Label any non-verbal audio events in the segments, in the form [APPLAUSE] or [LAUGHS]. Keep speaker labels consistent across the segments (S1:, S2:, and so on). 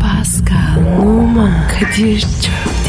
S1: Pascal, Oman, Kadir çok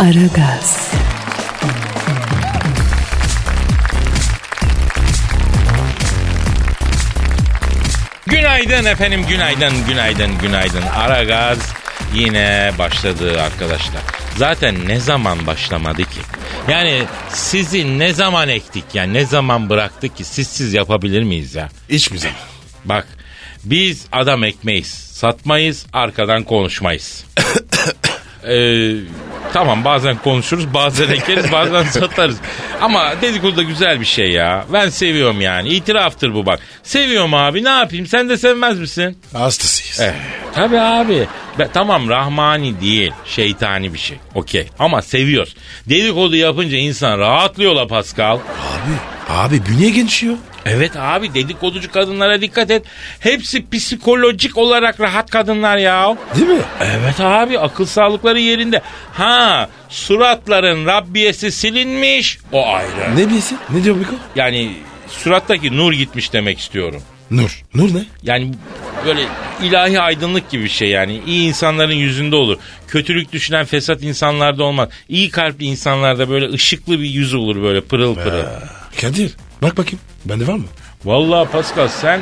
S1: Aragaz,
S2: Günaydın efendim, günaydın, günaydın, günaydın. Ara gaz yine başladı arkadaşlar. Zaten ne zaman başlamadı ki? Yani sizi ne zaman ektik yani ne zaman bıraktık ki sizsiz yapabilir miyiz ya?
S3: İç bize.
S2: Bak biz adam ekmeyiz, satmayız, arkadan konuşmayız. Ee, tamam bazen konuşuruz, bazen ekeriz, bazen satarız. Ama dedikodu da güzel bir şey ya. Ben seviyorum yani. İtiraftır bu bak. Seviyorum abi ne yapayım sen de sevmez misin?
S3: Hastasıyız.
S2: Eh, tabii abi. Be- tamam rahmani değil. Şeytani bir şey. Okey. Ama seviyoruz. Dedikodu yapınca insan rahatlıyor la Pascal.
S3: Abi. Abi bünye genişiyor.
S2: Evet abi dedikoducu kadınlara dikkat et. Hepsi psikolojik olarak rahat kadınlar ya.
S3: Değil mi?
S2: Evet abi akıl sağlıkları yerinde. Ha suratların Rabbiyesi silinmiş. O ayrı.
S3: Ne bilsin? Ne diyor Biko?
S2: Yani surattaki nur gitmiş demek istiyorum.
S3: Nur. Nur ne?
S2: Yani böyle ilahi aydınlık gibi bir şey yani. İyi insanların yüzünde olur. Kötülük düşünen fesat insanlarda olmaz. İyi kalpli insanlarda böyle ışıklı bir yüz olur böyle pırıl pırıl.
S3: Kadir. Bak bakayım. Bende var mı?
S2: Vallahi Pascal sen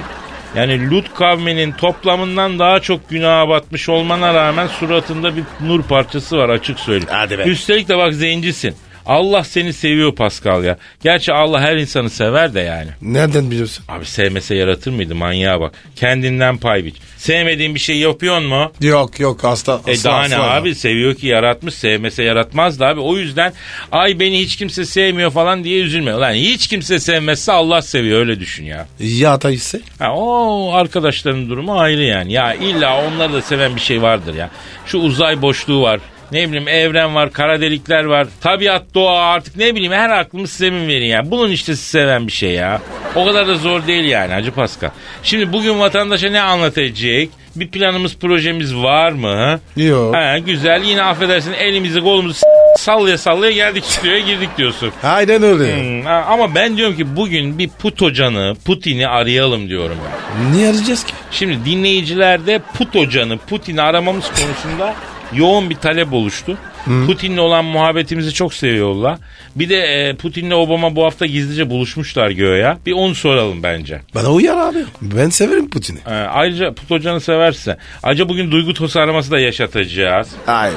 S2: yani Lut kavminin toplamından daha çok günaha batmış olmana rağmen suratında bir nur parçası var açık söyleyeyim.
S3: Hadi be.
S2: Üstelik de bak zencisin. Allah seni seviyor Pascal ya. Gerçi Allah her insanı sever de yani.
S3: Nereden biliyorsun?
S2: Abi sevmese yaratır mıydı manyağa bak. Kendinden pay biç. Sevmediğin bir şey yapıyorsun mu?
S3: Yok yok hasta.
S2: E daha ne abi seviyor ki yaratmış sevmese yaratmazdı abi. O yüzden ay beni hiç kimse sevmiyor falan diye üzülme. Lan hiç kimse sevmezse Allah seviyor öyle düşün ya.
S3: Ya hata ise?
S2: Ha, o arkadaşların durumu ayrı yani. Ya illa onları da seven bir şey vardır ya. Şu uzay boşluğu var. Ne bileyim evren var, kara delikler var. Tabiat, doğa artık ne bileyim her aklımı size mi verin ya. Bunun işte sizi seven bir şey ya. O kadar da zor değil yani Hacı Pascal. Şimdi bugün vatandaşa ne anlatacak? Bir planımız, projemiz var mı? ha?
S3: Yok.
S2: Ha, güzel yine affedersin elimizi kolumuzu s- sallaya sallaya geldik [LAUGHS] stüdyoya girdik diyorsun.
S3: Aynen öyle.
S2: Hmm, ha, Ama ben diyorum ki bugün bir Putocan'ı, Putin'i arayalım diyorum ya.
S3: Niye arayacağız ki?
S2: Şimdi dinleyicilerde Putocan'ı, Putin'i aramamız konusunda yoğun bir talep oluştu. Putin'le olan muhabbetimizi çok seviyorlar. Bir de e, Putin'le Obama bu hafta gizlice buluşmuşlar göğe. Bir onu soralım bence.
S3: Bana uyar abi. Ben severim Putin'i.
S2: E, ayrıca Putocan'ı severse. Acaba bugün Duygu Tosu araması da yaşatacağız.
S3: Aynen.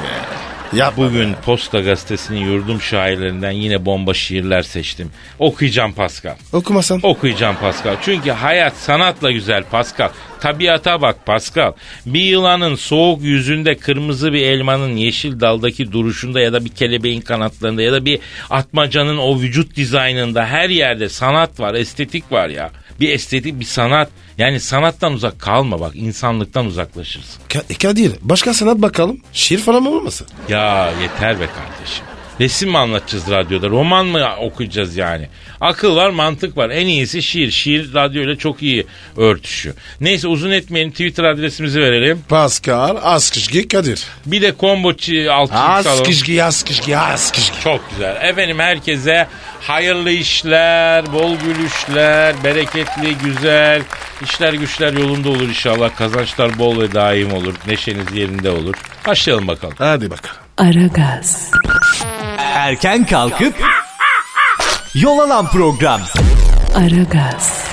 S3: Ya
S2: Bugün Posta Gazetesi'nin yurdum şairlerinden yine bomba şiirler seçtim. Okuyacağım Pascal.
S3: Okumasan.
S2: Okuyacağım Pascal. Çünkü hayat sanatla güzel Pascal. Tabiata bak Pascal. Bir yılanın soğuk yüzünde kırmızı bir elmanın yeşil daldaki duruşunda ya da bir kelebeğin kanatlarında ya da bir atmacanın o vücut dizaynında her yerde sanat var, estetik var ya. Bir estetik, bir sanat. Yani sanattan uzak kalma bak. insanlıktan uzaklaşırsın.
S3: Ka- Kadir başka sanat bakalım. Şiir falan mı olmasın?
S2: Ya yeter be kardeşim. Resim mi anlatacağız radyoda? Roman mı okuyacağız yani? Akıl var, mantık var. En iyisi şiir. Şiir radyoyla çok iyi örtüşüyor. Neyse uzun etmeyelim. Twitter adresimizi verelim.
S3: Pascal Askışgi Kadir.
S2: Bir de combo çi- altı çift alalım.
S3: Askışgi Askışgi Askışgi.
S2: Çok güzel. Efendim herkese hayırlı işler, bol gülüşler, bereketli, güzel. işler güçler yolunda olur inşallah. Kazançlar bol ve daim olur. Neşeniz yerinde olur. Başlayalım bakalım.
S3: Hadi bakalım.
S1: Aragaz,
S4: Erken kalkıp yol alan program.
S1: Aragaz,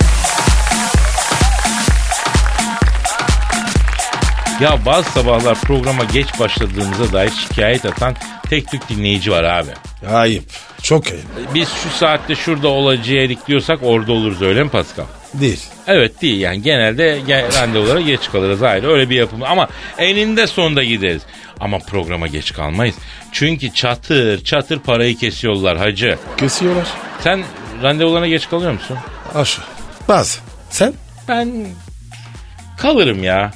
S2: Ya bazı sabahlar programa geç başladığımıza dair şikayet atan tek tük dinleyici var abi.
S3: Ayıp. Çok ayıp.
S2: Biz şu saatte şurada olacaktık diyorsak orada oluruz öyle mi Pascal?
S3: Değil.
S2: Evet değil yani genelde ge- randevulara geç kalırız ayrı öyle bir yapım ama eninde sonunda gideriz. Ama programa geç kalmayız. Çünkü çatır çatır parayı kesiyorlar hacı.
S3: Kesiyorlar.
S2: Sen randevularına geç kalıyor musun?
S3: Aşı. Bazı. Sen?
S2: Ben kalırım ya.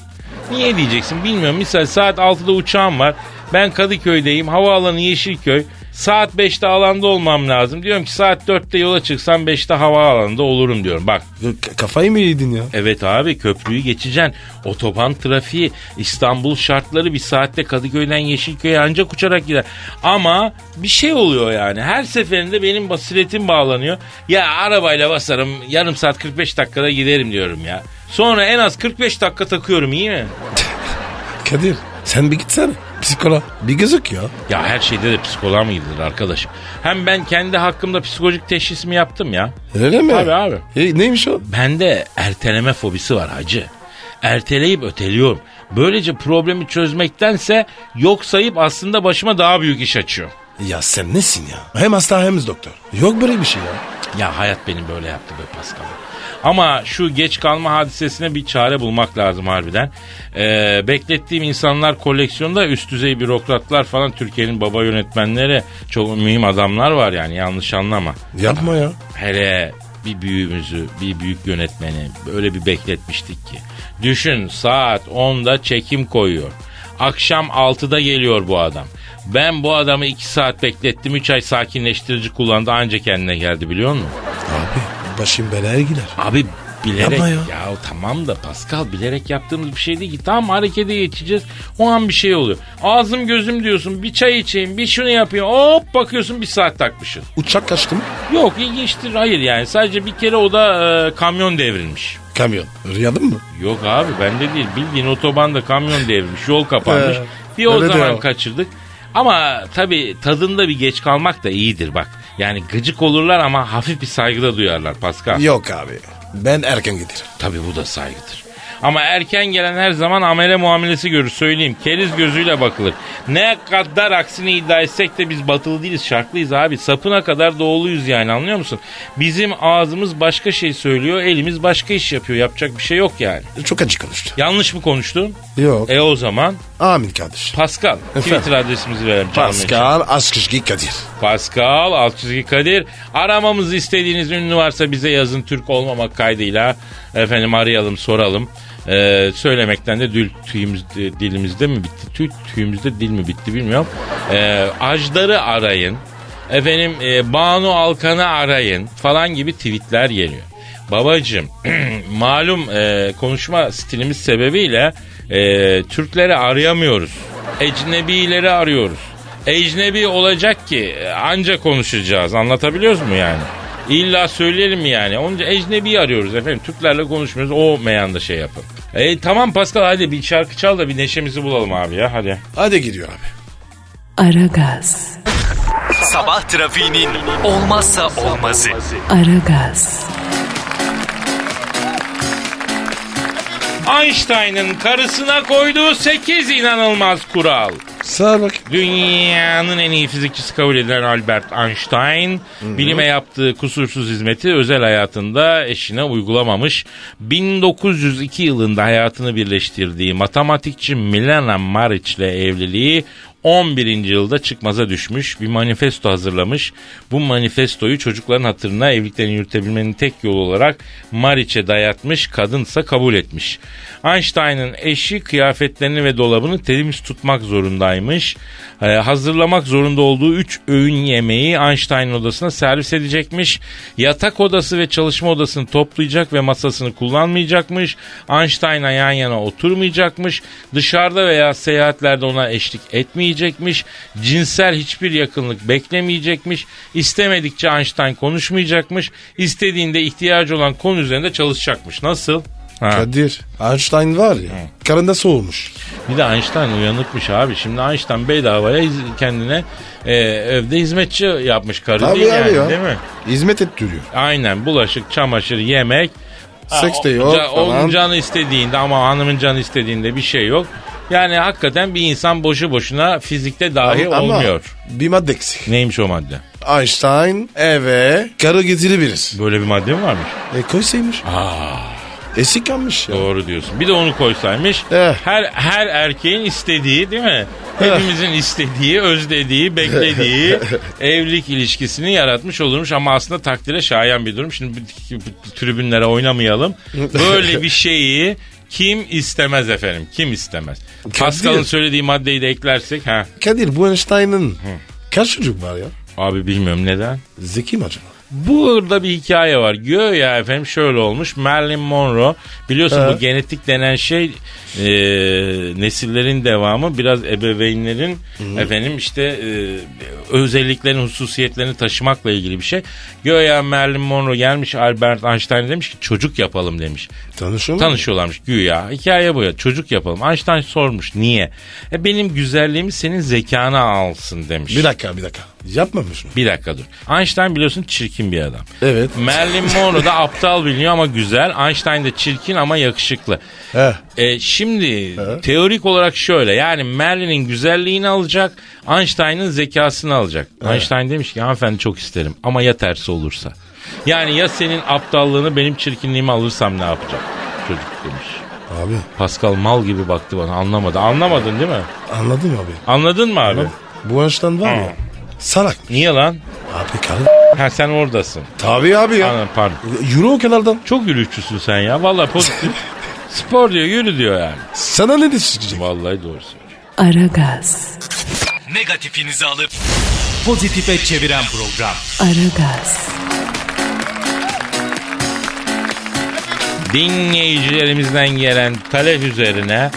S2: Niye diyeceksin bilmiyorum. Misal saat 6'da uçağım var. Ben Kadıköy'deyim. Havaalanı Yeşilköy. Saat 5'te alanda olmam lazım. Diyorum ki saat 4'te yola çıksam 5'te havaalanında olurum diyorum. Bak
S3: K- kafayı mı yedin ya?
S2: Evet abi köprüyü geçeceksin. Otoban trafiği, İstanbul şartları bir saatte Kadıköy'den Yeşilköy'e ancak uçarak gider. Ama bir şey oluyor yani. Her seferinde benim basiretim bağlanıyor. Ya arabayla basarım yarım saat 45 dakikada giderim diyorum ya. Sonra en az 45 dakika takıyorum iyi mi?
S3: Kadir sen bir gitsene. Psikoloğa. Bir gözük ya.
S2: Ya her şeyde de psikoloğa mı gidilir arkadaşım? Hem ben kendi hakkımda psikolojik teşhisimi yaptım ya.
S3: Öyle mi?
S2: Abi, abi.
S3: E, neymiş o?
S2: Bende erteleme fobisi var hacı. Erteleyip öteliyorum. Böylece problemi çözmektense yok sayıp aslında başıma daha büyük iş açıyorum.
S3: Ya sen nesin ya? Hem hasta hem doktor. Yok böyle bir şey ya.
S2: Ya hayat beni böyle yaptı be Pascal. Ama şu geç kalma hadisesine bir çare bulmak lazım harbiden. Ee, beklettiğim insanlar koleksiyonda üst düzey bürokratlar falan Türkiye'nin baba yönetmenleri çok mühim adamlar var yani yanlış anlama.
S3: Yapma ya.
S2: Hele bir büyüğümüzü, bir büyük yönetmeni böyle bir bekletmiştik ki. Düşün saat 10'da çekim koyuyor. Akşam 6'da geliyor bu adam. Ben bu adamı 2 saat beklettim. 3 ay sakinleştirici kullandı anca kendine geldi biliyor musun?
S3: Abi başım belaya gider.
S2: Abi bilerek
S3: Yapma
S2: ya.
S3: ya.
S2: tamam da Pascal bilerek yaptığımız bir şey değil ki. Tam harekete geçeceğiz. O an bir şey oluyor. Ağzım gözüm diyorsun. Bir çay içeyim, bir şunu yapayım. Hop bakıyorsun bir saat takmışsın.
S3: Uçak kaçtı mı?
S2: Yok ilginçtir hayır yani sadece bir kere o da e, kamyon devrilmiş.
S3: Kamyon. Rüyadın mı?
S2: Yok abi bende değil bildiğin otobanda kamyon devrilmiş yol kapanmış.
S3: Ee,
S2: bir o
S3: öyle
S2: zaman
S3: diyor.
S2: kaçırdık. Ama tabii tadında bir geç kalmak da iyidir bak. Yani gıcık olurlar ama hafif bir saygıda duyarlar Pascal.
S3: Yok abi. Ben erken giderim.
S2: Tabii bu da saygıdır. Ama erken gelen her zaman amele muamelesi görür söyleyeyim. Keriz gözüyle bakılır. Ne kadar aksini iddia etsek de biz batılı değiliz şarklıyız abi. Sapına kadar doğuluyuz yani anlıyor musun? Bizim ağzımız başka şey söylüyor elimiz başka iş yapıyor. Yapacak bir şey yok yani.
S3: Çok acı konuştu.
S2: Yanlış mı konuştum?
S3: Yok.
S2: E o zaman
S3: Amin kardeş.
S2: Pascal Twitter adresimizi verelim. canlı yayın
S3: Pascal Askışgi Kadir.
S2: için. Pascal alt çizgi Kadir. Aramamızı istediğiniz ünlü varsa bize yazın Türk olmamak kaydıyla. Efendim arayalım soralım. Ee, söylemekten de dil, tüyümüz, dilimizde mi bitti? Tüy, tüyümüzde dil mi bitti bilmiyorum. Ee, Ajdar'ı arayın. Efendim e, Banu Alkan'ı arayın falan gibi tweetler geliyor. Babacım [CLEARS THROAT] malum e, konuşma stilimiz sebebiyle e, Türkleri arayamıyoruz. Ecnebileri arıyoruz. Ecnebi olacak ki e, anca konuşacağız. Anlatabiliyoruz mu yani? İlla söyleyelim mi yani? Onca ecnebi arıyoruz efendim. Türklerle konuşmuyoruz. O meyanda şey yapın. E, tamam Pascal hadi bir şarkı çal da bir neşemizi bulalım abi ya hadi.
S3: Hadi gidiyor abi.
S1: Aragaz,
S4: Sabah trafiğinin olmazsa olmazı.
S1: Aragaz,
S2: Einstein'ın karısına koyduğu 8 inanılmaz kural.
S3: Sağ ol bak.
S2: Dünyanın en iyi fizikçisi kabul edilen Albert Einstein bilime yaptığı kusursuz hizmeti özel hayatında eşine uygulamamış. 1902 yılında hayatını birleştirdiği matematikçi Milena Maric ile evliliği 11. yılda çıkmaza düşmüş bir manifesto hazırlamış. Bu manifestoyu çocukların hatırına evliliklerini yürütebilmenin tek yolu olarak Mariç'e dayatmış, kadınsa kabul etmiş. Einstein'ın eşi kıyafetlerini ve dolabını temiz tutmak zorundaymış. Ee, hazırlamak zorunda olduğu 3 öğün yemeği Einstein'ın odasına servis edecekmiş. Yatak odası ve çalışma odasını toplayacak ve masasını kullanmayacakmış. Einstein'a yan yana oturmayacakmış. Dışarıda veya seyahatlerde ona eşlik etmeyecekmiş. Cinsel hiçbir yakınlık beklemeyecekmiş. İstemedikçe Einstein konuşmayacakmış. İstediğinde ihtiyacı olan konu üzerinde çalışacakmış. Nasıl? Ha.
S3: Kadir. Einstein var ya. Karında soğumuş.
S2: Bir de Einstein uyanıkmış abi. Şimdi Einstein bedavaya iz- kendine e, evde hizmetçi yapmış karı
S3: Tabii
S2: değil
S3: abi
S2: yani
S3: ya.
S2: değil mi?
S3: Hizmet ettiriyor.
S2: Aynen bulaşık, çamaşır, yemek.
S3: Seks de
S2: Aa, o-
S3: yok
S2: ca- Onun
S3: falan.
S2: canı istediğinde ama hanımın canı istediğinde bir şey yok. Yani hakikaten bir insan boşu boşuna fizikte dahi olmuyor.
S3: bir madde eksik.
S2: Neymiş o madde?
S3: Einstein eve karı getirebiliriz.
S2: Böyle bir madde mi varmış?
S3: E koysaymış. Eksik kalmış ya.
S2: Doğru diyorsun. Bir de onu koysaymış.
S3: Eh.
S2: Her her erkeğin istediği değil mi? Hepimizin istediği, özlediği, beklediği evlilik ilişkisini yaratmış olurmuş ama aslında takdire şayan bir durum. Şimdi bu- bu- bu tribünlere oynamayalım. Böyle bir şeyi Kim istemez efendim? Kim istemez?
S3: Kadir.
S2: Pascal'ın söylediği maddeyi de eklersek ha.
S3: Kadir bu Einstein'ın kaç çocuk var ya?
S2: Abi bilmiyorum neden.
S3: Zeki mi acaba?
S2: Burada bir hikaye var. Göğe ya efendim şöyle olmuş. Marilyn Monroe biliyorsun
S3: He.
S2: bu genetik denen şey e, nesillerin devamı biraz ebeveynlerin efendim işte e, özelliklerini hususiyetlerini taşımakla ilgili bir şey. Göğe ya Marilyn Monroe gelmiş Albert Einstein demiş ki çocuk yapalım demiş.
S3: Tanışıyor mu?
S2: Tanışıyorlarmış güya. Hikaye bu ya. Çocuk yapalım. Einstein sormuş niye? E benim güzelliğimi senin zekana alsın demiş.
S3: Bir dakika bir dakika. Yapmamış mı?
S2: Bir dakika dur. Einstein biliyorsun çirkin bir adam.
S3: Evet.
S2: Marilyn Monroe da aptal biliniyor ama güzel. Einstein de çirkin ama yakışıklı.
S3: He.
S2: E, şimdi
S3: He.
S2: teorik olarak şöyle yani Merlin'in güzelliğini alacak Einstein'ın zekasını alacak. Einstein demiş ki hanımefendi çok isterim ama ya tersi olursa. Yani ya senin aptallığını benim çirkinliğimi alırsam ne yapacak çocuk demiş.
S3: Abi
S2: Pascal mal gibi baktı bana anlamadı. Anlamadın değil mi?
S3: anladım abi.
S2: Anladın mı abi?
S3: Bu Einstein var ya. Salak.
S2: Niye lan?
S3: Abi karı.
S2: Ha sen oradasın.
S3: Tabii abi ya.
S2: Anladım, pardon.
S3: Euro o kenardan.
S2: Çok yürüyüşçüsün sen ya. Vallahi pozitif. Spor diyor yürü diyor yani.
S3: Sana ne düşecek?
S2: Vallahi doğru söylüyor.
S1: Aragaz,
S4: Negatifinizi alıp pozitife çeviren program.
S1: Aragaz,
S2: Dinleyicilerimizden gelen talep üzerine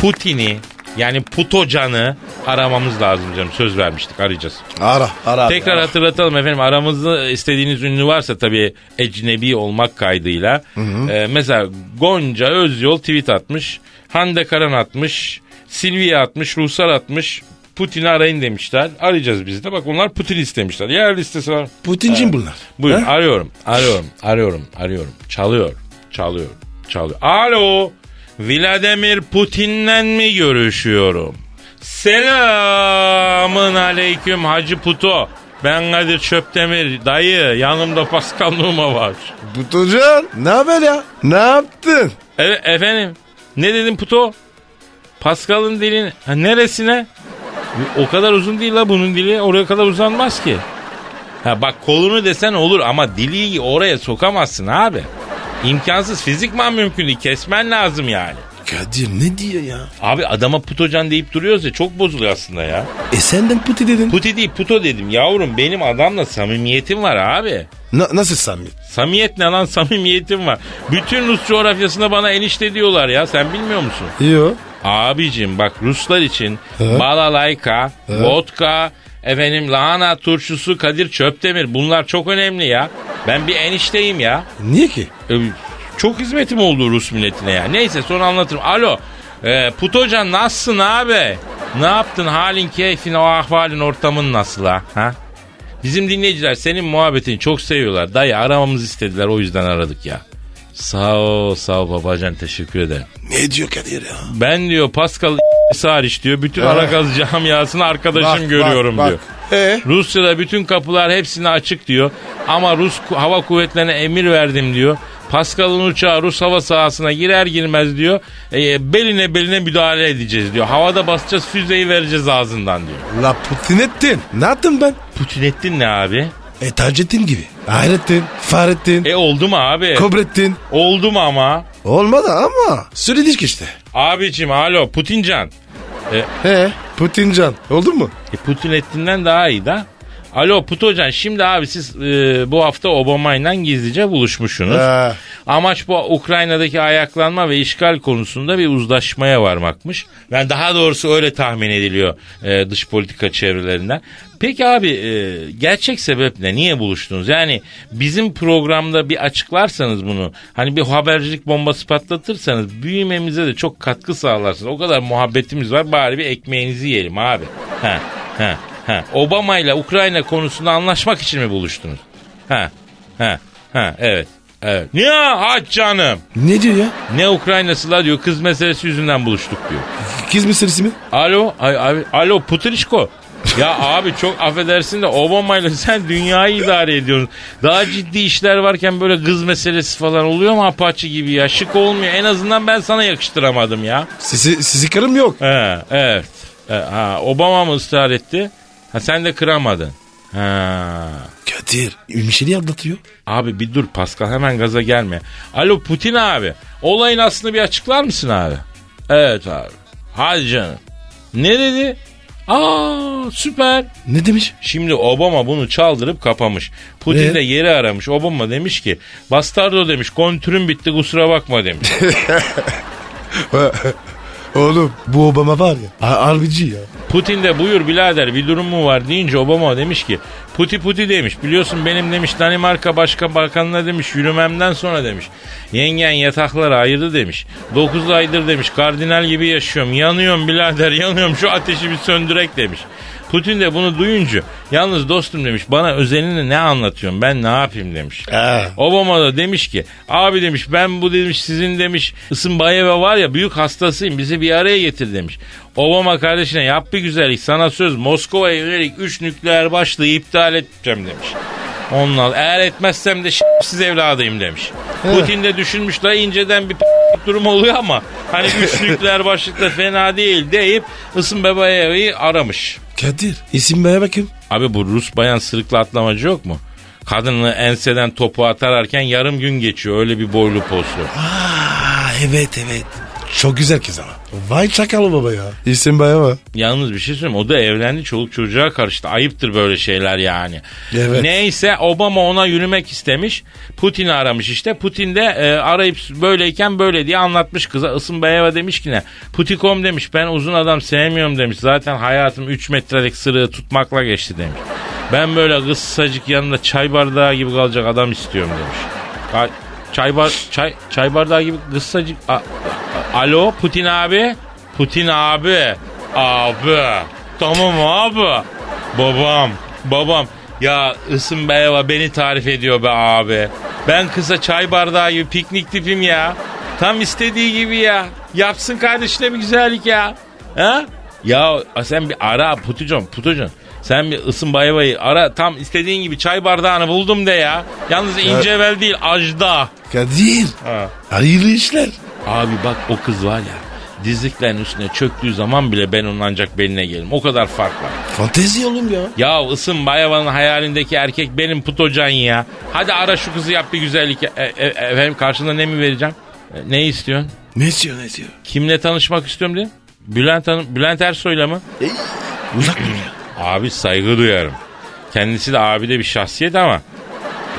S2: Putin'i yani Putocan'ı aramamız lazım canım. Söz vermiştik arayacağız.
S3: Ara ara.
S2: Tekrar
S3: ara.
S2: hatırlatalım efendim aramızda istediğiniz ünlü varsa tabii ecnebi olmak kaydıyla. Ee, mesela Gonca Özyol tweet atmış. Hande Karan atmış. Silvia atmış. Ruhsar atmış. Putin'i arayın demişler. Arayacağız biz de. Bak onlar Putin istemişler. Yer listesi var.
S3: Putin'cim bunlar.
S2: Buyurun
S3: He?
S2: arıyorum. Arıyorum. Arıyorum. Arıyorum. Çalıyor. Çalıyor. Çalıyor. Alo. Vladimir Putin'le mi görüşüyorum? Selamın aleyküm Hacı Puto. Ben Kadir Çöptemir. Dayı yanımda Pascal Numa var.
S3: Putocan ne haber ya? Ne yaptın?
S2: E- efendim ne dedim Puto? Pascal'ın dilin ha, neresine? O kadar uzun değil la bunun dili. Oraya kadar uzanmaz ki. Ha bak kolunu desen olur ama dili oraya sokamazsın abi. İmkansız fizikman mümkün değil. Kesmen lazım yani.
S3: Kadir ne diyor ya?
S2: Abi adama putocan deyip duruyoruz ya çok bozuluyor aslında ya.
S3: E senden Putin dedin.
S2: Puti değil puto dedim yavrum benim adamla samimiyetim var abi.
S3: Na- nasıl samimi?
S2: Samimiyet ne lan samimiyetim var. Bütün Rus coğrafyasında bana enişte diyorlar ya sen bilmiyor musun?
S3: Yo.
S2: Abicim bak Ruslar için
S3: He.
S2: balalayka, vodka, efendim lahana turşusu, Kadir Çöptemir bunlar çok önemli ya. Ben bir enişteyim ya.
S3: Niye ki?
S2: Ee, çok hizmetim oldu Rus milletine ya. Neyse sonra anlatırım. Alo. Ee, Putocan nasılsın abi? Ne yaptın? Halin, keyfin, o ahvalin, ortamın nasıl ha? ha? Bizim dinleyiciler senin muhabbetini çok seviyorlar. Dayı aramamızı istediler o yüzden aradık ya. Sağ ol, sağ ol babacan teşekkür ederim.
S3: Ne diyor Kadir ya?
S2: Ben diyor Pascal [LAUGHS] hariç diyor bütün
S3: Evet.
S2: Aragaz camiasını arkadaşım görüyorum diyor.
S3: E
S2: Rusya'da bütün kapılar hepsine açık diyor. Ama Rus ku- hava kuvvetlerine emir verdim diyor. Pascal'ın uçağı Rus hava sahasına girer girmez diyor. E, beline beline müdahale edeceğiz diyor. Havada basacağız füzeyi vereceğiz ağzından diyor.
S3: la Putin ettin. Ne yaptım ben?
S2: Putin ettin ne abi?
S3: E Taceddin gibi. Hayrettin, Fahrettin,
S2: E oldu mu abi?
S3: Kobrettin.
S2: oldu mu ama?
S3: Olmadı ama. Söyledik işte.
S2: Abicim alo Putincan.
S3: He Putincan. Oldu mu?
S2: E Putin ettiğinden daha iyi da. Alo Putocan şimdi abi siz e, bu hafta Obama'yla gizlice buluşmuşsunuz.
S3: He.
S2: Amaç bu Ukrayna'daki ayaklanma ve işgal konusunda bir uzlaşmaya varmakmış. Yani daha doğrusu öyle tahmin ediliyor e, dış politika çevrelerinden. Peki abi e, gerçek sebep ne? Niye buluştunuz? Yani bizim programda bir açıklarsanız bunu hani bir habercilik bombası patlatırsanız büyümemize de çok katkı sağlarsınız. O kadar muhabbetimiz var bari bir ekmeğinizi yiyelim abi. Ha, ha, ha. Obama ile Ukrayna konusunda anlaşmak için mi buluştunuz? Ha, ha, ha evet. Evet. Ne aç canım?
S3: Ne diyor ya?
S2: Ne Ukraynası la diyor kız meselesi yüzünden buluştuk diyor.
S3: Kız meselesi mi?
S2: Alo, ay, abi, alo Putrişko. Ya [LAUGHS] abi çok affedersin de Obama'yla sen dünyayı idare ediyorsun. Daha ciddi işler varken böyle kız meselesi falan oluyor mu apaçı gibi ya? Şık olmuyor. En azından ben sana yakıştıramadım ya.
S3: Sizi, sizi karım yok.
S2: He, evet. E, ha, Obama mı ısrar etti? Ha, sen de kıramadın. Ha.
S3: Kadir bir şeyi anlatıyor.
S2: Abi bir dur Pascal hemen gaza gelme. Alo Putin abi. Olayın aslını bir açıklar mısın abi? Evet abi. Hadi canım. Ne dedi? Aa süper.
S3: Ne demiş?
S2: Şimdi Obama bunu çaldırıp kapamış. Putin
S3: Ee?
S2: de yeri aramış. Obama demiş ki bastardo demiş kontürüm bitti kusura bakma demiş.
S3: [LAUGHS] Oğlum bu Obama var ya. har- Harbici ya.
S2: Putin de buyur birader bir durum mu var deyince Obama demiş ki puti puti demiş biliyorsun benim demiş Danimarka Başkan Bakanı'na demiş yürümemden sonra demiş yengen yataklara ayırdı demiş 9 aydır demiş kardinal gibi yaşıyorum yanıyorum birader yanıyorum şu ateşi bir söndürek demiş. Putin de bunu duyunca yalnız dostum demiş bana özelini ne anlatıyorsun ben ne yapayım demiş.
S3: Ee.
S2: Obama da demiş ki abi demiş ben bu demiş sizin demiş Isınbayeva var ya büyük hastasıyım bizi bir araya getir demiş. Obama kardeşine yap bir güzellik sana söz Moskova'ya yönelik 3 nükleer başlığı iptal edeceğim demiş. Onunla eğer etmezsem de siz evladıyım demiş. Putin de düşünmüş la inceden bir p- durum oluyor ama hani üç nükleer başlık da fena değil deyip Isınbayeva'yı aramış.
S3: Kadir isim bana bakayım.
S2: Abi bu Rus bayan sırıkla atlamacı yok mu? Kadını enseden topu atarken yarım gün geçiyor öyle bir boylu poslu.
S3: Aa evet evet. Çok güzel kız ama. Vay çakal baba ya. İsim bana bak.
S2: Yalnız bir şey söyleyeyim o da evlendi çoluk çocuğa karıştı. Ayıptır böyle şeyler yani.
S3: Evet.
S2: Neyse Obama ona yürümek istemiş. Putin'i aramış işte. Putin de e, arayıp böyleyken böyle diye anlatmış kıza. Isınbayeva demiş ki ne? Putikom demiş ben uzun adam sevmiyorum demiş. Zaten hayatım 3 metrelik sırığı tutmakla geçti demiş. Ben böyle kısacık yanında çay bardağı gibi kalacak adam istiyorum demiş. Ay, Çay bar çay çay bardağı gibi kısacık A- a- Alo Putin abi. Putin abi. Abi. Tamam abi. Babam. Babam. Ya ısın Beyva beni tarif ediyor be abi. Ben kısa çay bardağı gibi piknik tipim ya. Tam istediği gibi ya. Yapsın kardeşine bir güzellik ya. Ha? Ya sen bir ara Putucon, Putucon. Sen bir ısın bayvayı ara tam istediğin gibi çay bardağını buldum de ya. Yalnız incevel değil ajda.
S3: Kadir.
S2: Ha.
S3: Hayırlı işler.
S2: Abi bak o kız var ya dizliklerin üstüne çöktüğü zaman bile ben onun ancak beline gelirim. O kadar fark var.
S3: Fantezi oğlum ya.
S2: Ya ısın Bayava'nın hayalindeki erkek benim Putocan ya. Hadi ara şu kızı yap bir güzellik. E, e- efendim karşında ne mi vereceğim? E, ne istiyorsun?
S3: Ne istiyor ne istiyor?
S2: Kimle tanışmak istiyorum diye? Bülent Hanım, Bülent Ersoy'la mı?
S3: Uzak [CLEARS THROAT] dur ya.
S2: Abi saygı duyarım. Kendisi de abi de bir şahsiyet ama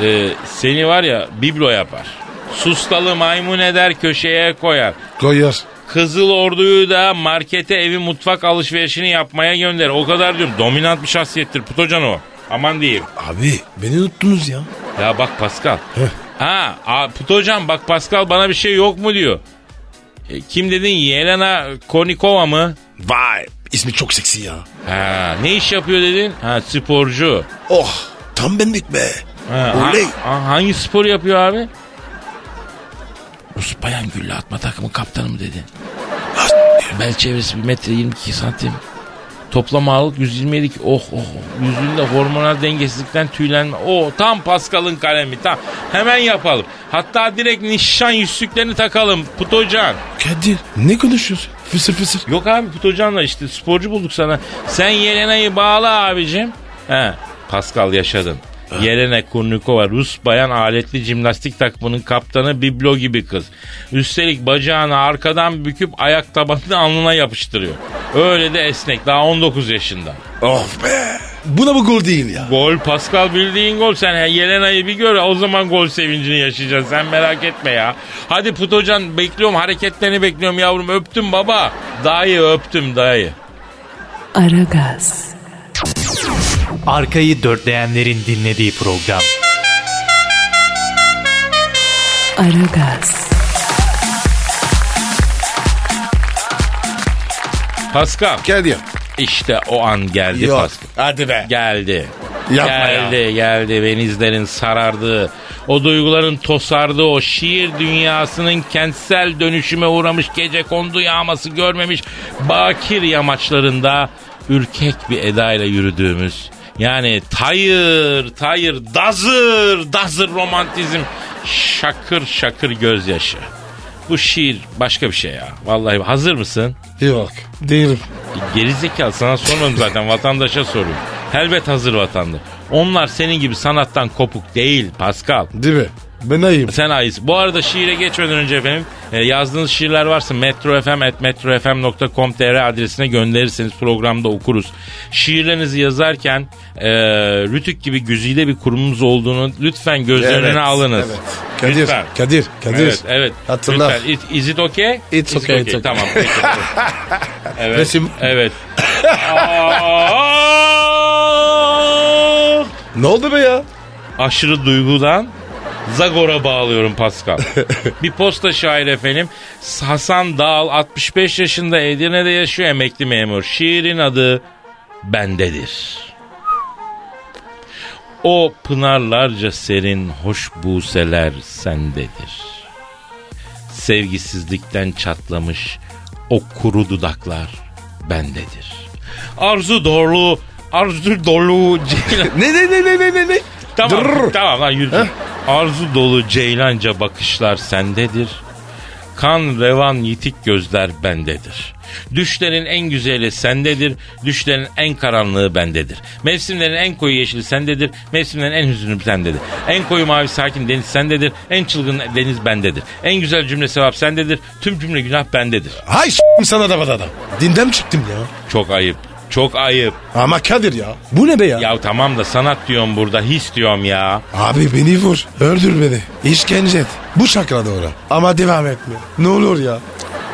S2: e, seni var ya biblo yapar. Sustalı maymun eder köşeye koyar.
S3: Koyar.
S2: Kızıl Ordu'yu da markete evi mutfak alışverişini yapmaya gönder. O kadar diyorum dominant bir şahsiyettir Putocan o. Aman diyeyim.
S3: Abi beni unuttunuz ya.
S2: Ya bak Pascal.
S3: Heh.
S2: ha a, Putocan bak Pascal bana bir şey yok mu diyor. E, kim dedin Yelena Konikova mı?
S3: Vay. ismi çok seksi ya.
S2: Ha, ne iş yapıyor dedin? Ha sporcu.
S3: Oh. Tam benlik be.
S2: Ha,
S3: Oley.
S2: ha- ha- hangi spor yapıyor abi?
S5: Rus bayan gülle atma takımı kaptanı mı dedi.
S3: Ah,
S5: Bel çevresi 1 metre 22 santim.
S2: Toplam ağırlık 127 ki- oh oh oh. yüzünde hormonal dengesizlikten tüylenme. O tam Pascal'ın kalemi tam. Hemen yapalım. Hatta direkt nişan yüzüklerini takalım Putocan.
S3: Kadir ne konuşuyorsun? Fısır fısır.
S2: Yok abi Putocan'la işte sporcu bulduk sana. Sen Yelena'yı bağla abicim. He Pascal yaşadın. Yelena Kurnikova Rus bayan aletli jimnastik takımının kaptanı biblo gibi kız. Üstelik bacağını arkadan büküp ayak tabanını alnına yapıştırıyor. Öyle de esnek daha 19 yaşında.
S3: Of be. Buna bu gol değil ya.
S2: Gol Pascal bildiğin gol. Sen he- Yelena'yı bir gör o zaman gol sevincini yaşayacaksın. Sen merak etme ya. Hadi Putocan bekliyorum hareketlerini bekliyorum yavrum. Öptüm baba. Dayı öptüm dayı.
S1: Aragaz,
S4: Arkayı dörtleyenlerin dinlediği program.
S1: Aragaz,
S2: Pascal
S3: Gel ya.
S2: işte o an geldi Pascal.
S3: Hadi be.
S2: Geldi.
S3: Yapma
S2: geldi geldi denizlerin sarardığı, o duyguların tosardığı, o şiir dünyasının kentsel dönüşüme uğramış gece kondu yağması görmemiş bakir yamaçlarında ürkek bir edayla yürüdüğümüz yani tayır tayır dazır dazır romantizm şakır şakır gözyaşı. Bu şiir başka bir şey ya. Vallahi hazır mısın?
S3: Yok. Değilim.
S2: Gerizekalı sana sormadım zaten vatandaşa soruyorum. Elbet hazır vatandaş. Onlar senin gibi sanattan kopuk değil Pascal.
S3: Değil mi? Ben ayım.
S2: Sen ayız. Bu arada şiire geçmeden önce efendim e, yazdığınız şiirler varsa metrofm.metrofm.com.tr adresine gönderirseniz programda okuruz. Şiirlerinizi yazarken e, Rütük gibi güzide bir kurumumuz olduğunu lütfen göz önüne alınız.
S3: Kadir,
S2: Lütfen.
S3: Kadir, Kadir.
S2: Evet, evet.
S3: Hatırla.
S2: Lütfen. It- Is it okay?
S3: It's
S2: Is it
S3: okay, it's okay.
S2: Tamam. peki.
S3: [LAUGHS]
S2: evet.
S3: Resim. [LAUGHS]
S2: Evet. Ah!
S3: Ne oldu be ya?
S2: aşırı duygudan Zagor'a bağlıyorum Pascal. bir posta şair efendim. Hasan Dağal 65 yaşında Edirne'de yaşıyor emekli memur. Şiirin adı Bendedir. O pınarlarca serin hoş buseler sendedir. Sevgisizlikten çatlamış o kuru dudaklar bendedir. Arzu dolu, arzu dolu ceylan
S3: Ne ne ne ne ne ne ne?
S2: Tamam
S3: Dur.
S2: tamam lan yürü. Arzu dolu ceylanca bakışlar sendedir. Kan revan yitik gözler bendedir. Düşlerin en güzeli sendedir. Düşlerin en karanlığı bendedir. Mevsimlerin en koyu yeşili sendedir. Mevsimlerin en hüzünlü sendedir. En koyu mavi sakin deniz sendedir. En çılgın deniz bendedir. En güzel cümle sevap sendedir. Tüm cümle günah bendedir.
S3: Hay s**tim sana da adam. Dindem çıktım ya.
S2: Çok ayıp. Çok ayıp.
S3: Ama Kadir ya. Bu ne be ya?
S2: Ya tamam da sanat diyorum burada. His diyorum ya.
S3: Abi beni vur. Öldür beni. İşkence et. Bu şakla doğru. Ama devam etme. Ne olur ya.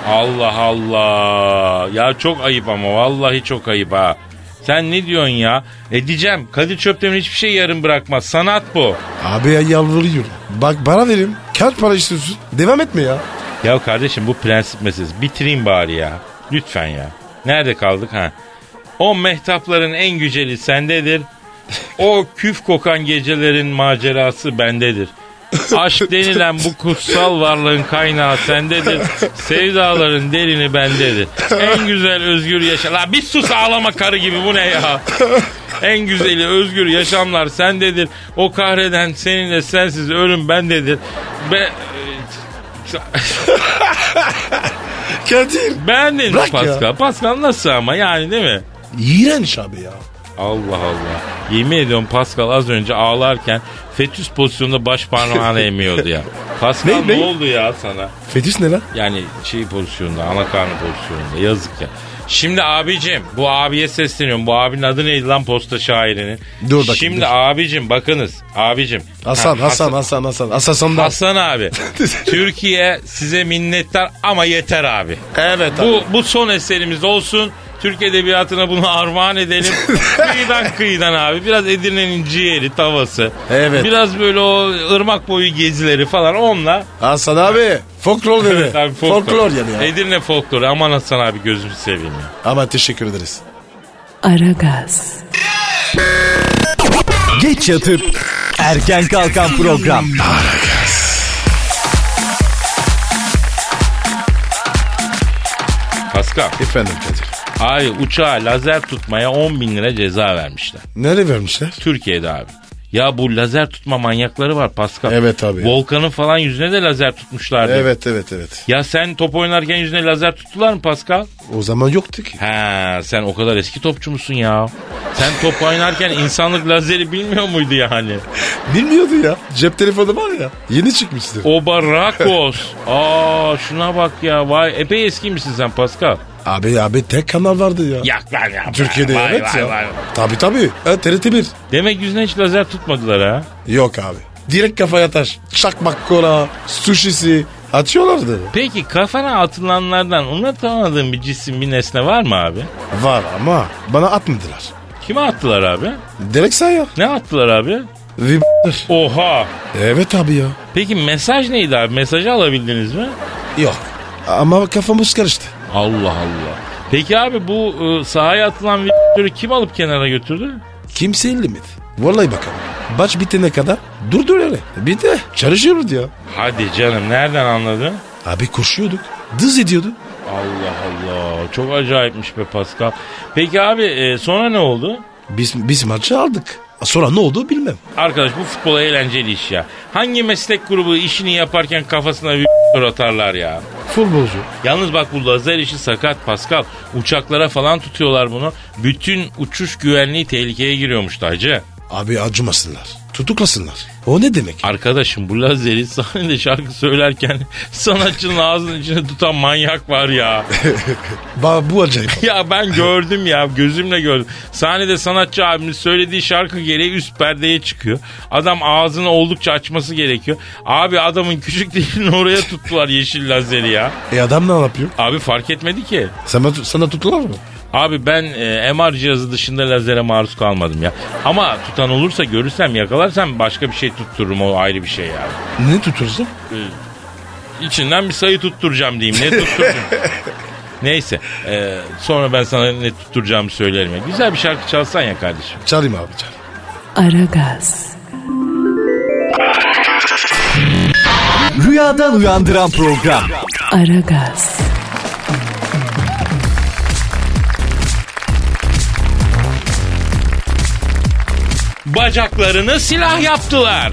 S2: Allah Allah. Ya çok ayıp ama vallahi çok ayıp ha. Sen ne diyorsun ya? E diyeceğim Kadir Çöptemir hiçbir şey yarım bırakmaz. Sanat bu.
S3: Abi ya yalvarıyorum. Bak bana verim. Kaç para istiyorsun? Devam etme ya.
S2: Ya kardeşim bu prensip meselesi. Bitireyim bari ya. Lütfen ya. Nerede kaldık ha? O mehtapların en güzeli sendedir. O küf kokan gecelerin macerası bendedir. Aşk denilen bu kutsal varlığın kaynağı sendedir. Sevdaların derini bendedir. En güzel özgür yaşa... La bir sus ağlama karı gibi bu ne ya? En güzeli özgür yaşamlar sendedir. O kahreden seninle sensiz ölüm bendedir. Be...
S3: Kadir.
S2: Beğendin mi
S3: Bırak
S2: Pascal?
S3: ya.
S2: Pascal nasıl ama yani değil mi?
S3: İğrenç abi ya.
S2: Allah Allah. Yemin ediyorum Pascal az önce ağlarken fetüs pozisyonda baş
S3: [LAUGHS]
S2: parmağını emiyordu ya. Pascal
S3: Ne-
S2: ne,
S3: ne?
S2: oldu ya sana?
S3: Fetiş ne lan?
S2: Yani şey pozisyonda, ana karnı pozisyonunda yazık ya. Şimdi abicim bu abiye sesleniyorum. Bu abinin adı neydi lan posta şairinin?
S3: Dur bakayım,
S2: Şimdi
S3: dur.
S2: abicim bakınız. Abicim.
S3: Hasan,
S2: Ha,
S3: Hasan, Hasan, Hasan. Hasan Sandal. [LAUGHS]
S2: Hasan abi. Türkiye size minnettar ama yeter abi.
S3: Evet abi.
S2: Bu, bu son eserimiz olsun. Türk Edebiyatı'na bunu
S3: [LAUGHS]
S2: armağan edelim. kıyıdan kıyıdan abi. Biraz Edirne'nin ciğeri, tavası.
S3: Evet.
S2: Biraz böyle o ırmak boyu gezileri falan onunla.
S3: Hasan abi. Folklor dedi.
S2: Evet abi,
S3: folklor. yani ya.
S2: Edirne folkloru. Aman Hasan abi gözünü seveyim ya.
S3: Ama teşekkür ederiz.
S1: Aragaz,
S4: Geç yatıp erken kalkan program.
S2: Pascal.
S3: Efendim Kadir.
S2: Abi uçağa lazer tutmaya 10 bin lira ceza vermişler.
S3: Nereye vermişler?
S2: Türkiye'de abi. Ya bu lazer tutma manyakları var Pascal.
S3: Evet abi ya.
S2: Volkan'ın falan yüzüne de lazer tutmuşlardı.
S3: Evet, evet, evet.
S2: Ya sen top oynarken yüzüne lazer tuttular mı Pascal?
S3: O zaman yoktu ki.
S2: He sen o kadar eski topçu musun ya? Sen top oynarken insanlık lazeri bilmiyor muydu yani?
S3: Bilmiyordu ya. Cep telefonu var ya. Yeni çıkmıştır.
S2: Oba Rakos.
S3: [LAUGHS]
S2: Aa şuna bak ya. Vay epey eskiymişsin sen Pascal.
S3: Abi abi tek kanal vardı ya.
S2: Yak lan ya.
S3: Türkiye'de
S2: Vay,
S3: evet
S2: vay,
S3: ya.
S2: vay.
S3: Tabii tabii. Ha, TRT 1.
S2: Demek yüzüne hiç lazer tutmadılar ha.
S3: Yok abi. Direkt kafaya taş. Çakmak kola, sushisi atıyorlardı.
S2: Peki kafana atılanlardan unutamadığın bir cisim bir nesne var mı abi?
S3: Var ama bana atmadılar.
S2: Kime attılar abi?
S3: Direkt sen ya.
S2: Ne attılar abi?
S3: Ve b***ler.
S2: Oha.
S3: Evet abi ya.
S2: Peki mesaj neydi abi? Mesajı alabildiniz mi?
S3: Yok. Ama kafamız karıştı.
S2: Allah Allah. Peki abi bu e, sahaya atılan videoları kim alıp kenara götürdü?
S3: Kimsenin limit. Vallahi bakalım. Baş bitene kadar dur dur öyle. Bir de çalışıyoruz ya.
S2: Hadi canım nereden anladın?
S3: Abi koşuyorduk. Dız ediyordu.
S2: Allah Allah çok acayipmiş be Pascal. Peki abi e, sonra ne oldu?
S3: Biz, biz maçı aldık. Sonra ne oldu bilmem.
S2: Arkadaş bu futbol eğlenceli iş ya. Hangi meslek grubu işini yaparken kafasına bir [LAUGHS] atarlar ya?
S3: Futbolcu.
S2: Yalnız bak bu lazer işi sakat Pascal. Uçaklara falan tutuyorlar bunu. Bütün uçuş güvenliği tehlikeye giriyormuş da hacı.
S3: Abi acımasınlar. Tutuklasınlar. O ne demek?
S2: Arkadaşım bu lazeri sahnede şarkı söylerken [LAUGHS] sanatçının ağzının içine tutan manyak var ya.
S3: Ba bu acayip.
S2: ya ben gördüm ya gözümle gördüm. Sahnede sanatçı abimiz söylediği şarkı gereği üst perdeye çıkıyor. Adam ağzını oldukça açması gerekiyor. Abi adamın küçük dilini oraya tuttular yeşil lazeri ya.
S3: e adam ne yapıyor?
S2: Abi fark etmedi ki.
S3: Sana, sana tuttular mı?
S2: Abi ben e, MR cihazı dışında lazere maruz kalmadım ya. Ama tutan olursa görürsem yakalarsam başka bir şey tuttururum o ayrı bir şey ya.
S3: Ne tutursun?
S2: İçinden bir sayı tutturacağım diyeyim. Ne tutturacağım? Neyse. e, sonra ben sana ne tutturacağımı söylerim. ya. Güzel bir şarkı çalsan ya kardeşim.
S3: Çağırayım abi çağır.
S1: Aragaz,
S4: Rüyadan uyandıran program.
S1: Aragaz,
S2: Bacaklarını silah yaptılar.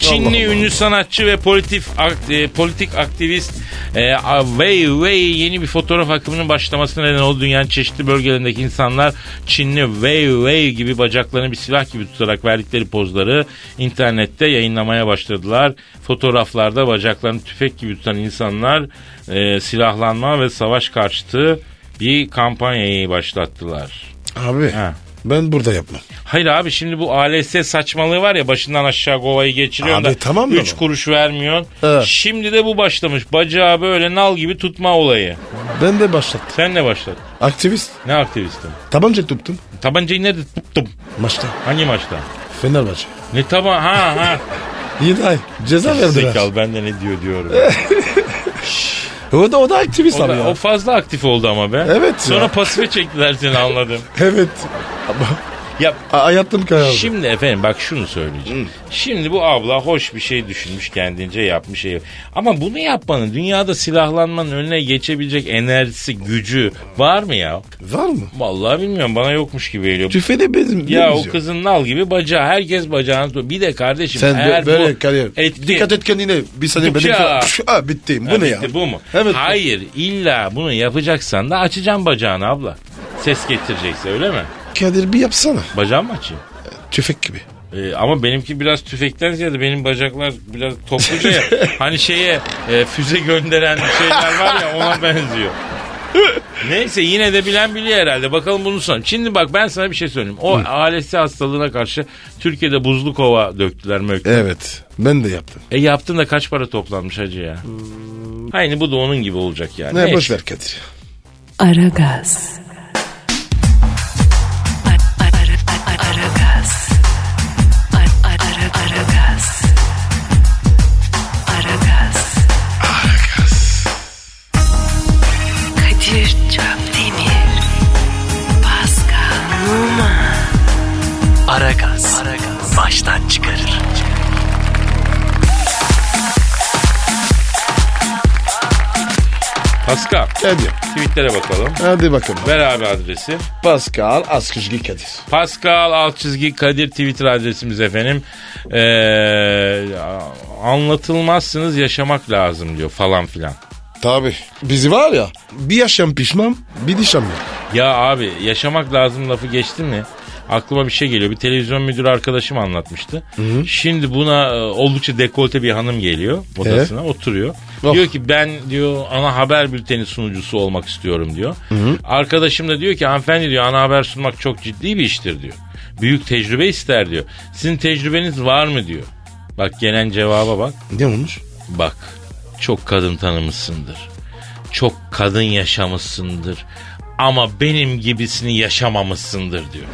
S2: Çinli ünlü sanatçı ve politif ak- e, politik aktivist e, a- Wei Wei yeni bir fotoğraf akımının başlamasına neden oldu. Dünyanın çeşitli bölgelerindeki insanlar Çinli Wei Wei gibi bacaklarını bir silah gibi tutarak verdikleri pozları internette yayınlamaya başladılar. Fotoğraflarda bacaklarını tüfek gibi tutan insanlar e, silahlanma ve savaş karşıtı bir kampanyayı başlattılar.
S3: Abi
S2: Ha.
S3: ben burada yapmam.
S2: Hayır abi şimdi bu ALS saçmalığı var ya başından aşağı kovayı geçiriyorsun
S3: Abi
S2: da
S3: tamam da
S2: 3
S3: bu.
S2: kuruş vermiyorsun.
S3: Evet.
S2: Şimdi de bu başlamış. Bacağı böyle nal gibi tutma olayı.
S3: Ben de başlattım.
S2: Sen ne başladın?
S3: Aktivist.
S2: Ne aktivistin?
S3: Tabanca tuttum.
S2: Tabancayı nerede tuttum?
S3: Maçta.
S2: Hangi maçta?
S3: Fenerbahçe.
S2: Ne taban? Ha
S3: [LAUGHS]
S2: ha.
S3: 7 ay. Ceza verdiler.
S2: Zekalı ben de ne diyor diyorum.
S3: E, O da, o da aktivist
S2: o,
S3: abi
S2: da-
S3: Eh, ya.
S2: o fazla aktif oldu ama be.
S3: Evet ya.
S2: Sonra pasife çektiler
S3: [LAUGHS]
S2: seni anladım.
S3: Evet. Ama
S2: Ya
S3: a- hayatım karardı.
S2: Şimdi efendim bak şunu söyleyeceğim. Şimdi bu abla hoş bir şey düşünmüş kendince yapmış. Şey. Ama bunu yapmanın dünyada silahlanmanın önüne geçebilecek enerjisi, gücü var mı ya?
S3: Var mı?
S2: Vallahi bilmiyorum bana yokmuş gibi geliyor.
S3: Tüfeği de bizim.
S2: ya o
S3: bizim.
S2: kızın nal gibi bacağı herkes bacağını tutuyor. Bir de kardeşim
S3: Sen bö-
S2: eğer
S3: böyle
S2: bu
S3: kariyer.
S2: etki-
S3: Dikkat et kendine. Bir saniye
S2: Yok
S3: benim.
S2: ya.
S3: Ha, bitti. Bu
S2: Ha,
S3: ne
S2: bitti,
S3: ya?
S2: Bu mu?
S3: Evet.
S2: Hayır illa bunu yapacaksan da açacağım bacağını abla. Ses getirecekse öyle mi?
S3: Kadir bir yapsana.
S2: Bacağımı açayım.
S3: Tüfek gibi.
S2: Ee, ama benimki biraz tüfekten ziyade benim bacaklar biraz
S3: [LAUGHS]
S2: topluca ya. hani şeye e, füze gönderen şeyler var ya ona benziyor. Neyse yine de bilen biliyor herhalde. Bakalım bunu son. Şimdi bak ben sana bir şey söyleyeyim. O ALS hastalığına karşı Türkiye'de buzlu kova döktüler
S3: E?
S2: möktüler.
S3: Evet. Ben de yaptım.
S2: E yaptın da kaç para toplanmış hacı ya? Aynı bu da onun gibi olacak yani.
S3: Hmm. Ne
S2: Neyse.
S3: boş ver Kadir.
S1: Aragaz. Ar- ar- ar- ar- Aragaz. Ar- ar- ar- Aragaz. Aragaz. Kadir Çöpdemir. Pascal Numa.
S6: Aragaz. Baştan çıkarır.
S2: Pascal
S3: Kadir.
S2: tweetlere bakalım.
S3: Hadi bakalım.
S2: Ver abi adresi.
S3: Pascal Askışgi Kadir.
S2: Pascal alt çizgi Kadir Twitter adresimiz efendim. Ee, anlatılmazsınız yaşamak lazım diyor falan filan.
S3: Tabi. Bizi var ya. Bir yaşam pişman, bir dişam yok.
S2: Ya abi yaşamak lazım lafı geçti mi? Aklıma bir şey geliyor. Bir televizyon müdürü arkadaşım anlatmıştı. Şimdi buna e, oldukça dekolte bir hanım geliyor odasına oturuyor.
S3: Oh.
S2: Diyor ki ben diyor ana haber bülteni sunucusu olmak istiyorum diyor. Arkadaşım da diyor ki hanımefendi diyor ana haber sunmak çok ciddi bir iştir diyor. Büyük tecrübe ister diyor. Sizin tecrübeniz var mı diyor. Bak gelen cevaba bak.
S3: Ne olmuş? [LAUGHS]
S2: Bak çok kadın tanımışsındır. Çok kadın yaşamışsındır. Ama benim gibisini yaşamamışsındır diyor.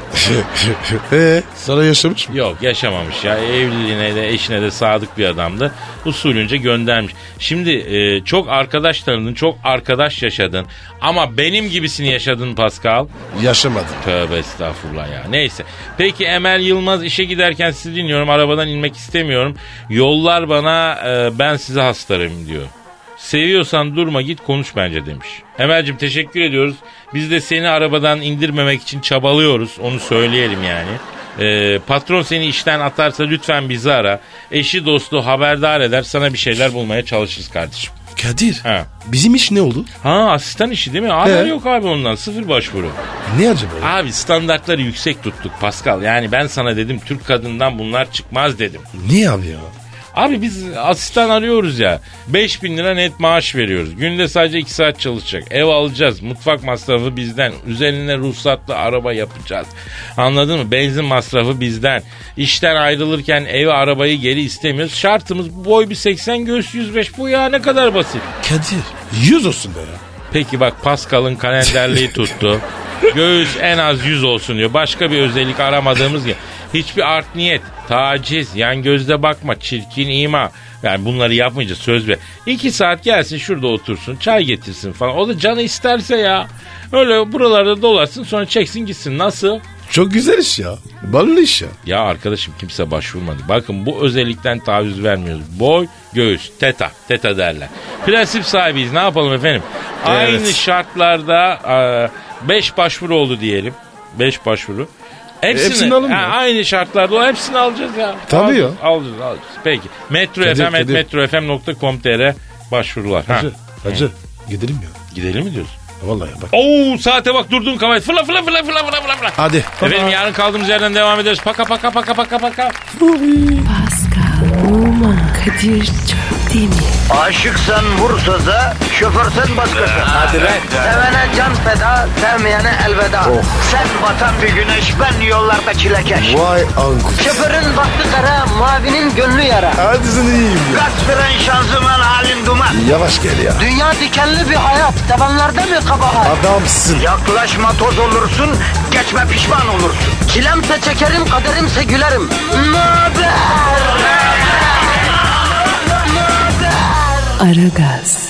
S3: Eee E, sana yaşamış mı?
S2: Yok yaşamamış ya. Evliliğine de eşine de sadık bir adamdı. Usulünce göndermiş. Şimdi e, çok arkadaş tanıdın, çok arkadaş yaşadın. Ama benim gibisini yaşadın Pascal.
S3: Yaşamadım.
S2: Tövbe estağfurullah ya. Neyse. Peki Emel Yılmaz işe giderken sizi dinliyorum. Arabadan inmek istemiyorum. Yollar bana e, ben size hastarım diyor. Seviyorsan durma git konuş bence demiş. Emel'cim teşekkür ediyoruz. Biz de seni arabadan indirmemek için çabalıyoruz. Onu söyleyelim yani. Ee, patron seni işten atarsa lütfen bizi ara. Eşi dostu haberdar eder sana bir şeyler bulmaya çalışırız kardeşim.
S3: Kadir.
S2: Ha.
S3: Bizim iş ne oldu?
S2: Ha asistan işi değil mi? Haber
S3: He.
S2: yok abi ondan sıfır başvuru.
S3: Ne acaba? ya?
S2: Abi standartları yüksek tuttuk Pascal. Yani ben sana dedim Türk kadından bunlar çıkmaz dedim.
S3: Niye abi ya?
S2: Abi biz asistan arıyoruz ya. 5000 lira net maaş veriyoruz. Günde sadece 2 saat çalışacak. Ev alacağız. Mutfak masrafı bizden. Üzerine ruhsatlı araba yapacağız. Anladın mı? Benzin masrafı bizden. İşten ayrılırken evi arabayı geri istemiyoruz. Şartımız boy bir 80 göğüs 105 bu ya ne kadar basit.
S3: Kadir. Yüz olsun be ya.
S2: Peki bak Pascal'ın kalenderliği tuttu. Göğüs en az 100 olsun diyor. Başka bir özellik aramadığımız gibi. Hiçbir art niyet, taciz, yan gözle bakma, çirkin ima. Yani bunları yapmayacağız söz ver. İki saat gelsin şurada otursun, çay getirsin falan. O da canı isterse ya. Öyle buralarda dolaşsın sonra çeksin gitsin. Nasıl?
S3: Çok güzel iş ya. Ballı iş ya.
S2: Ya arkadaşım kimse başvurmadı. Bakın bu özellikten taviz vermiyoruz. Boy, göğüs, teta, teta derler. Prensip sahibiyiz ne yapalım efendim? Aynı şartlarda 5 başvuru oldu diyelim. 5 başvuru. Hepsini,
S3: Hepsini alın mı?
S2: Ha, aynı şartlarda o hepsini alacağız ya.
S3: Tabii
S2: alacağız, Alacağız, alacağız. Peki. Metro
S3: Kadir,
S2: FM, et
S3: Kadir.
S2: metrofm.com.tr başvurular. Ha,
S3: Hacı. Hacı. Gidelim ya.
S2: gidelim mi diyorsun?
S3: Vallahi bak.
S2: Oo saate bak durdun kavayet. Fırla fırla fırla fırla fırla fırla.
S3: Hadi.
S2: Efendim yarın kaldığımız yerden devam ederiz. Paka paka paka paka paka.
S1: Pascal, Oman, Kadir çok değil mi?
S7: Aşıksan vursa da, şoförsen başkasın. Hadi
S4: lan.
S7: Sevene can feda, sevmeyene elveda. Sen batan bir güneş, ben yollarda çilekeş.
S3: Vay anku.
S7: Şoförün baktı kara, mavinin gönlü yara.
S3: Hadi sen iyiyim ya.
S7: Kasperen şanzıman halin duman.
S3: Yavaş gel ya.
S7: Dünya dikenli bir hayat, sevenlerde mi kabahar?
S3: Adamsın.
S7: Yaklaşma toz olursun, geçme pişman olursun. Çilemse çekerim, kaderimse gülerim. Möber!
S1: Aragaz.